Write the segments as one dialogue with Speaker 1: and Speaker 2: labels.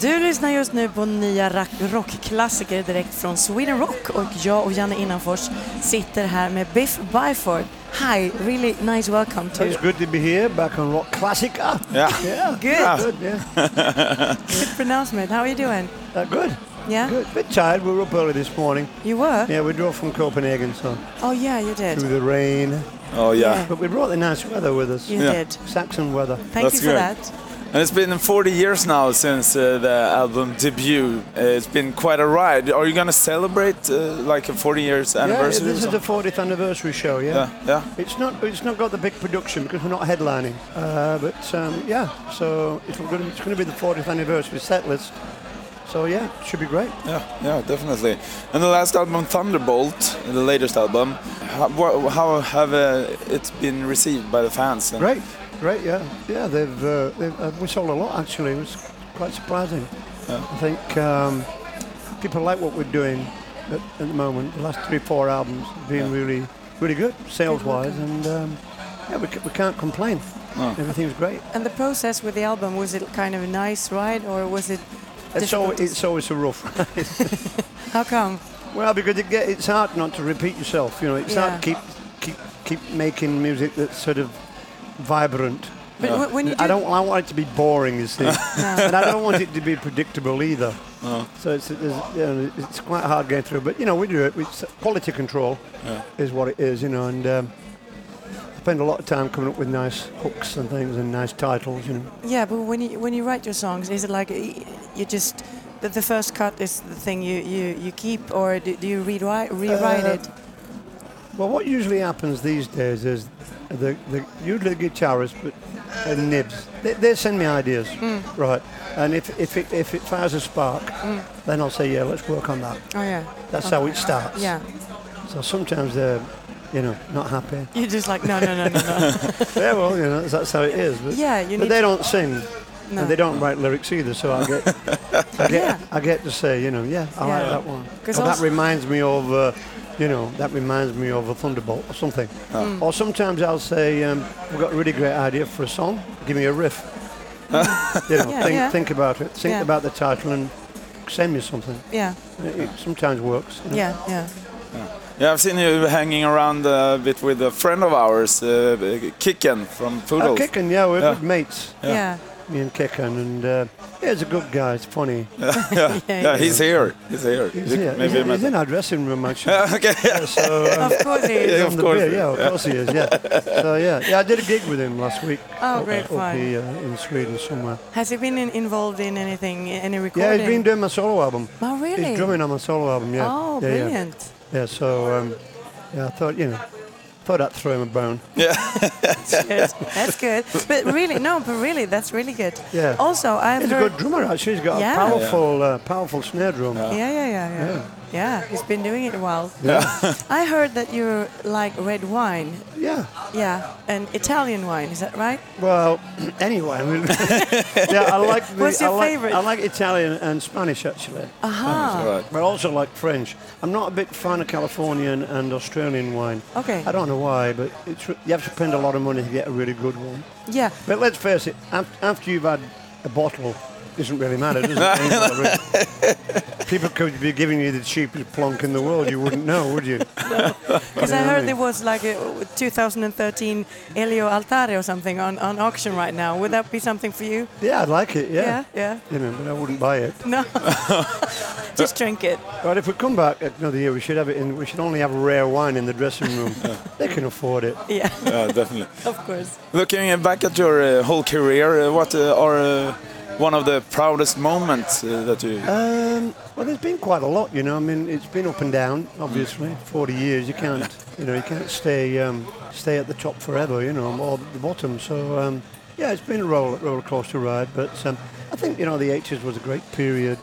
Speaker 1: Du lyssnar just nu på nya rack- rockklassiker direkt från Sweden Rock och jag och Janne Innanfors sitter här med Biff Byford. Hi, really nice welcome to
Speaker 2: It's good to be here, back on Rock Classica.
Speaker 3: Yeah.
Speaker 2: Yeah.
Speaker 1: Good.
Speaker 2: Good, yeah.
Speaker 1: good pronouncement. How are you doing?
Speaker 2: Uh, good.
Speaker 1: Yeah,
Speaker 2: Good. Bit tired. We were up early this morning.
Speaker 1: you were?
Speaker 2: Yeah, we drove from Copenhagen, so
Speaker 1: Oh yeah, you did.
Speaker 2: through the rain.
Speaker 3: Oh yeah.
Speaker 2: But we brought the nice weather with us.
Speaker 1: You
Speaker 3: Yeah.
Speaker 1: did.
Speaker 2: Saxon weather.
Speaker 1: Thank
Speaker 3: That's
Speaker 1: you for
Speaker 3: good.
Speaker 1: that.
Speaker 3: And it's been 40 years now since uh, the album debut. Uh, it's been quite a ride. Are you gonna celebrate uh, like a 40 years anniversary?
Speaker 2: yeah,
Speaker 3: or
Speaker 2: this is the
Speaker 3: something?
Speaker 2: 40th anniversary show. Yeah.
Speaker 3: yeah, yeah.
Speaker 2: It's not. It's not got the big production because we're not headlining. Uh, but um, yeah, so it's going to be the 40th anniversary set list. So yeah, should be great.
Speaker 3: Yeah, yeah, definitely. And the last album, Thunderbolt, the latest album, how, wha- how have uh, it been received by the fans? And-
Speaker 2: Great, great, yeah, yeah. They've, uh, they've uh, we sold a lot actually. It was quite surprising. I think um, people like what we're doing at, at the moment. The last three, four albums have been
Speaker 3: Yeah.
Speaker 2: really, really good sales-wise, and um, yeah, we, c- we can't complain.
Speaker 3: No.
Speaker 2: Everything's great.
Speaker 1: And the process with the album, was it kind of a nice ride or was it
Speaker 2: It's, al-
Speaker 1: difficult?
Speaker 2: it's always a rough. ride.
Speaker 1: How come?
Speaker 2: well, because it get, it's hard not to repeat yourself. You know, it's
Speaker 1: Yeah.
Speaker 2: hard to keep, keep, keep making music that's sort of vibrant.
Speaker 1: But
Speaker 3: Yeah.
Speaker 1: wh- when you
Speaker 2: I
Speaker 1: do-
Speaker 2: don't. I want it to be boring, you see,
Speaker 1: No.
Speaker 2: and I don't want it to be predictable either.
Speaker 1: Oh.
Speaker 3: No.
Speaker 2: So it's it's, you know, it's quite hard going through. But you know, we do it. It's quality control
Speaker 3: Yeah.
Speaker 2: is what it is, you know, and um, spend a lot of time coming up with nice hooks and things and nice titles, you know.
Speaker 1: Yeah, but when you when you write your songs, is it like y- you just the, the first cut is the thing you, you, you keep, or do, do you rewrite rewrite
Speaker 2: Uh,
Speaker 1: it?
Speaker 2: Well, what usually happens these days is the, the usually the guitarists but and nibs they, they send me ideas, right? And if if it, if it fires a spark, then I'll say yeah, let's work on that.
Speaker 1: Oh yeah,
Speaker 2: That's how it starts.
Speaker 1: yeah.
Speaker 2: So sometimes they're, you know, not happy.
Speaker 1: You're just like no no no no no.
Speaker 2: yeah, well, you know, that's, that's how it is. But,
Speaker 1: yeah, you
Speaker 2: but
Speaker 1: need.
Speaker 2: they don't sing
Speaker 1: no.
Speaker 2: and they don't write lyrics either. So I get, I get,
Speaker 1: Yeah.
Speaker 2: I get to say, you know, yeah, I
Speaker 1: Yeah.
Speaker 2: like that one.
Speaker 1: 'Cause
Speaker 2: Or that
Speaker 1: also-
Speaker 2: reminds me of, uh, you know, that reminds me of a thunderbolt or something.
Speaker 1: Hmm.
Speaker 2: Or sometimes I'll say, um, we've got a really great idea for a song. Give me a riff. you know,
Speaker 1: Hmm. Yeah,
Speaker 2: think,
Speaker 1: yeah.
Speaker 2: think about it. Think
Speaker 1: Yeah.
Speaker 2: about the title and send me something.
Speaker 1: Yeah
Speaker 2: It, it sometimes works. you know.
Speaker 1: yeah yeah.
Speaker 3: Yeah, I've seen you hanging around uh, a bit with a friend of ours, uh, Kicken from
Speaker 2: Uh,
Speaker 3: Poodles.
Speaker 2: Kicken, yeah, we're
Speaker 3: Yeah.
Speaker 2: good mates.
Speaker 1: Yeah. yeah,
Speaker 2: me and Kekan, and uh, yeah, he's a good guy. It's funny.
Speaker 3: yeah, he's here. He's here.
Speaker 2: He's,
Speaker 3: You
Speaker 2: here.
Speaker 3: maybe
Speaker 2: he's, in-
Speaker 3: met
Speaker 2: he's in our dressing room actually.
Speaker 3: him. okay.
Speaker 2: Yeah, so um,
Speaker 1: Of course he is.
Speaker 3: Yeah,
Speaker 2: he's
Speaker 3: of
Speaker 2: on the
Speaker 3: course
Speaker 2: beer,
Speaker 3: he-
Speaker 2: yeah, of course he is. Yeah. So yeah, yeah, I did a gig with him last week.
Speaker 1: Oh, great
Speaker 2: up
Speaker 1: fun.
Speaker 2: here, uh, in Sweden somewhere.
Speaker 1: Has he been in, involved in anything, any recording?
Speaker 2: Yeah, he's been doing my solo album.
Speaker 1: Oh really?
Speaker 2: He's drumming on my solo album. Yeah.
Speaker 1: Oh,
Speaker 2: yeah, yeah.
Speaker 1: brilliant.
Speaker 2: Yeah. So um, yeah, I thought you know, thought I'd throw him a bone.
Speaker 1: Yes, that's good. But really, no, but really, that's really good.
Speaker 2: Yeah.
Speaker 1: Also, I've
Speaker 2: He's a
Speaker 1: heard.
Speaker 2: good drummer actually. He's got
Speaker 1: Yeah.
Speaker 2: a
Speaker 1: Yeah.
Speaker 2: powerful, uh, powerful snare drum.
Speaker 1: Yeah, yeah, yeah, yeah. Yeah, he's been doing it a while.
Speaker 2: Yeah.
Speaker 1: I heard that you like red wine.
Speaker 2: yeah.
Speaker 1: Yeah, and Italian wine, is that right?
Speaker 2: Well, anyway, I mean, yeah, I like the,
Speaker 1: What's your Oh.
Speaker 2: I like,
Speaker 1: favourite?
Speaker 2: I like Italian and Spanish actually.
Speaker 1: Aha.
Speaker 3: Right.
Speaker 2: But I also like French. I'm not a big fan of Californian and Australian wine.
Speaker 1: Okay.
Speaker 2: I don't know why, but it's, re- you have to spend a lot of money to get a really good one.
Speaker 1: Yeah.
Speaker 2: But let's face it, af- after you've had a bottle, it doesn't really matter, does it? People could be giving you the cheapest plonk in the world. You wouldn't know, would you?
Speaker 1: Because I heard there was like a 2013 Elio Altare or something on, on auction right now. Would that be something for you?
Speaker 2: Yeah, I'd like it. Yeah.
Speaker 1: Yeah, yeah.
Speaker 2: You know, but I wouldn't buy it.
Speaker 1: No. Just drink it.
Speaker 2: But if we come back another year, we should have it in. We should only have rare wine in the dressing room. they can afford it.
Speaker 1: Yeah,
Speaker 3: Yeah, definitely.
Speaker 1: of course.
Speaker 3: Looking back at your uh, whole career, uh, what uh, are uh, one of the proudest moments uh, that you?
Speaker 2: Um, well, there's been quite a lot, you know. I mean, it's been up and down, obviously. 40 years, you can't, you know, you can't stay um, stay at the top forever, you know, or the bottom. So, um, yeah, it's been a roller, roller coaster ride, but um, I think you know the 80s was a great period,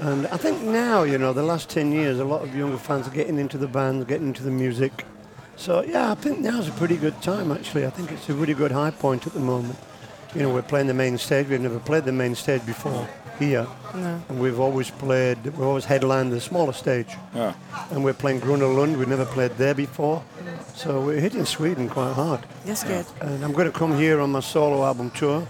Speaker 2: and I think now, you know, the last 10 years, a lot of younger fans are getting into the bands, getting into the music. So, yeah, I think now's a pretty good time, actually. I think it's a really good high point at the moment. You know, we're playing the main stage. We've never played the main stage before. here,
Speaker 1: No.
Speaker 2: and we've always played. We've always headlined the smaller stage,
Speaker 3: Yeah.
Speaker 2: and we're playing Grunelund. We've never played there before, so we're hitting Sweden quite hard.
Speaker 1: That's good.
Speaker 2: And I'm going to come here on my solo album tour,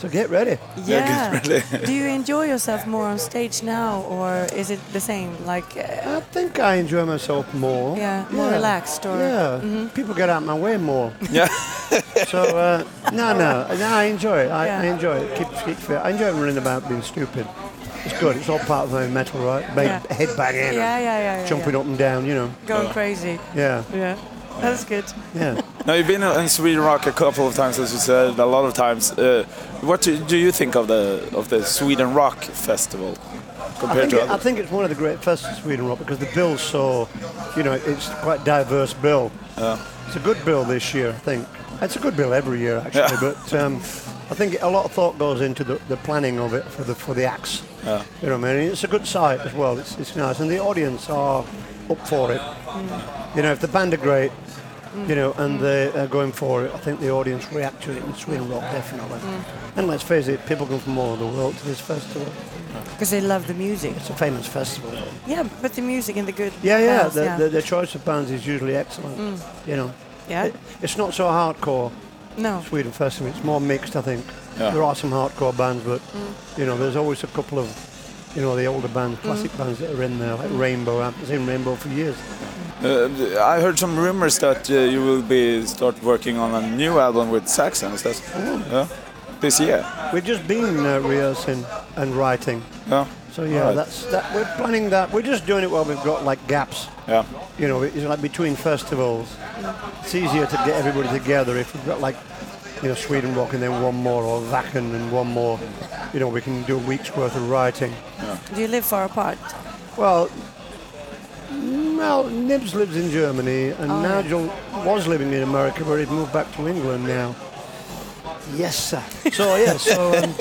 Speaker 2: so get ready.
Speaker 3: Yeah,
Speaker 1: Yeah.
Speaker 3: good, really.
Speaker 1: Do you enjoy yourself more on stage now, or is it the same? Like, uh,
Speaker 2: I think I enjoy myself more.
Speaker 1: Yeah, more relaxed or- Mm-hmm.
Speaker 2: yeah. People get out of my way more.
Speaker 3: Yeah.
Speaker 2: So uh, no, no, no, I enjoy it. I,
Speaker 1: Yeah.
Speaker 2: I enjoy it. Keep, keep fit. I enjoy running about being stupid. It's good. It's all part of my metal, right? Ba-
Speaker 1: Yeah.
Speaker 2: Head banging, and
Speaker 1: yeah, yeah, yeah, yeah.
Speaker 2: jumping
Speaker 1: yeah.
Speaker 2: up and down. You know.
Speaker 1: Going crazy.
Speaker 2: Yeah,
Speaker 1: Yeah. That's good.
Speaker 2: yeah.
Speaker 3: Now you've been in Sweden Rock a couple of times, as you said, a lot of times. Uh, what do, do you think of the of the Sweden Rock Festival
Speaker 2: I think,
Speaker 3: compared to
Speaker 2: it, I
Speaker 3: other?
Speaker 2: think it's one of the great fests in Sweden, Rob, because the bill's so, you know, it's quite diverse bill. It's a good bill this year, I think. It's a good bill every year, actually, but um, I think a lot of thought goes into the, the planning of it for the for the acts. You know what I mean? It's a good site as well. It's, it's nice, and the audience are up for it. You know, if the band are great, you know, and they are going for it, I think the audience react to it in Sweden Rock definitely. And let's face it, people come from all over the world to this festival.
Speaker 1: Because they love the music.
Speaker 2: It's a famous festival.
Speaker 1: Yeah, but the music and the good.
Speaker 2: Yeah, yeah.
Speaker 1: bands,
Speaker 2: The,
Speaker 1: yeah.
Speaker 2: The, the choice of bands is usually excellent. You know,
Speaker 1: yeah.
Speaker 2: It- it's not so hardcore
Speaker 1: No.
Speaker 2: Sweden Festival. It's more mixed, I think.
Speaker 3: Yeah.
Speaker 2: There are some hardcore bands, but you know, there's always a couple of you know the older bands, classic bands that are in there, like Rainbow. I've seen Rainbow for years.
Speaker 3: Uh, I heard some rumors that uh, you will be start working on a new album with Saxons. That's
Speaker 2: Oh.
Speaker 3: yeah, this year.
Speaker 2: We've just been uh, rehearsing and writing.
Speaker 3: Yeah,
Speaker 2: So yeah,
Speaker 3: Alright.
Speaker 2: that's that. We're planning that. We're just doing it while we've got like gaps.
Speaker 3: yeah,
Speaker 2: You know, it's like between festivals. It's easier to get everybody together if we've got like, you know, Sweden Rock and then one more, or Wacken and one more. You know, we can do a week's worth of writing.
Speaker 1: Do you live far apart?
Speaker 2: Well, well, Nibs lives in Germany, and
Speaker 1: Oh, yeah.
Speaker 2: Nigel was living in America, but he'd moved back to England now. Yes, sir. So yeah, so um,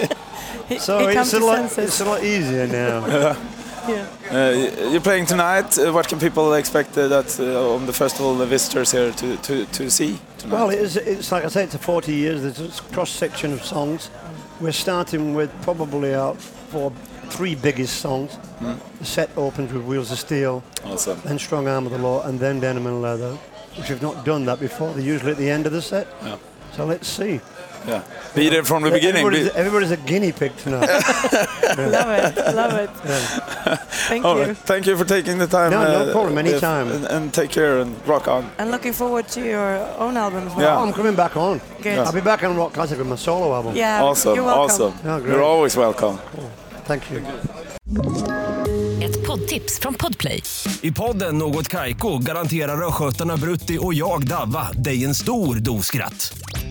Speaker 1: He,
Speaker 2: so
Speaker 1: he comes
Speaker 2: it's a
Speaker 1: to
Speaker 2: lot
Speaker 1: senses.
Speaker 2: it's a lot easier now.
Speaker 1: Yeah.
Speaker 3: uh, y- you're playing tonight. Uh, what can people expect uh, that uh, on the festival the visitors here to to, to see tonight?
Speaker 2: Well, it's, it's like I say, it's a 40 years. There's a cross section of songs. We're starting with probably our four, three biggest songs.
Speaker 3: Hmm.
Speaker 2: The set opens with Wheels of Steel,
Speaker 3: awesome.
Speaker 2: then Strong Arm of the Law, and then Denim and Leather, which have not done that before. They're usually at the end of the set.
Speaker 3: Yeah.
Speaker 2: So let's see.
Speaker 3: Yeah, be there from the beginning.
Speaker 2: Everybody's,
Speaker 3: Be-
Speaker 2: everybody's a guinea pig tonight.
Speaker 1: Love it. Love it. Thank
Speaker 3: All
Speaker 1: you.
Speaker 3: right. Thank you for taking the time.
Speaker 2: No, no problem,
Speaker 3: if-
Speaker 2: anytime.
Speaker 3: And, and take care and rock on.
Speaker 1: And looking forward to your own album as
Speaker 2: Oh,
Speaker 3: Yeah.
Speaker 1: well.
Speaker 2: I'm coming back on.
Speaker 1: Good.
Speaker 2: I'll be back on Rock Classic with my solo album.
Speaker 1: Yeah.
Speaker 3: Awesome,
Speaker 1: You're welcome.
Speaker 3: awesome.
Speaker 2: Yeah, Oh, great.
Speaker 3: You're always welcome.
Speaker 2: Thank you.
Speaker 4: Ett poddtips från Podplay.
Speaker 5: I podden Något Kaiko garanterar östgötarna Brutti och jag, Davva, dig en stor dos skratt.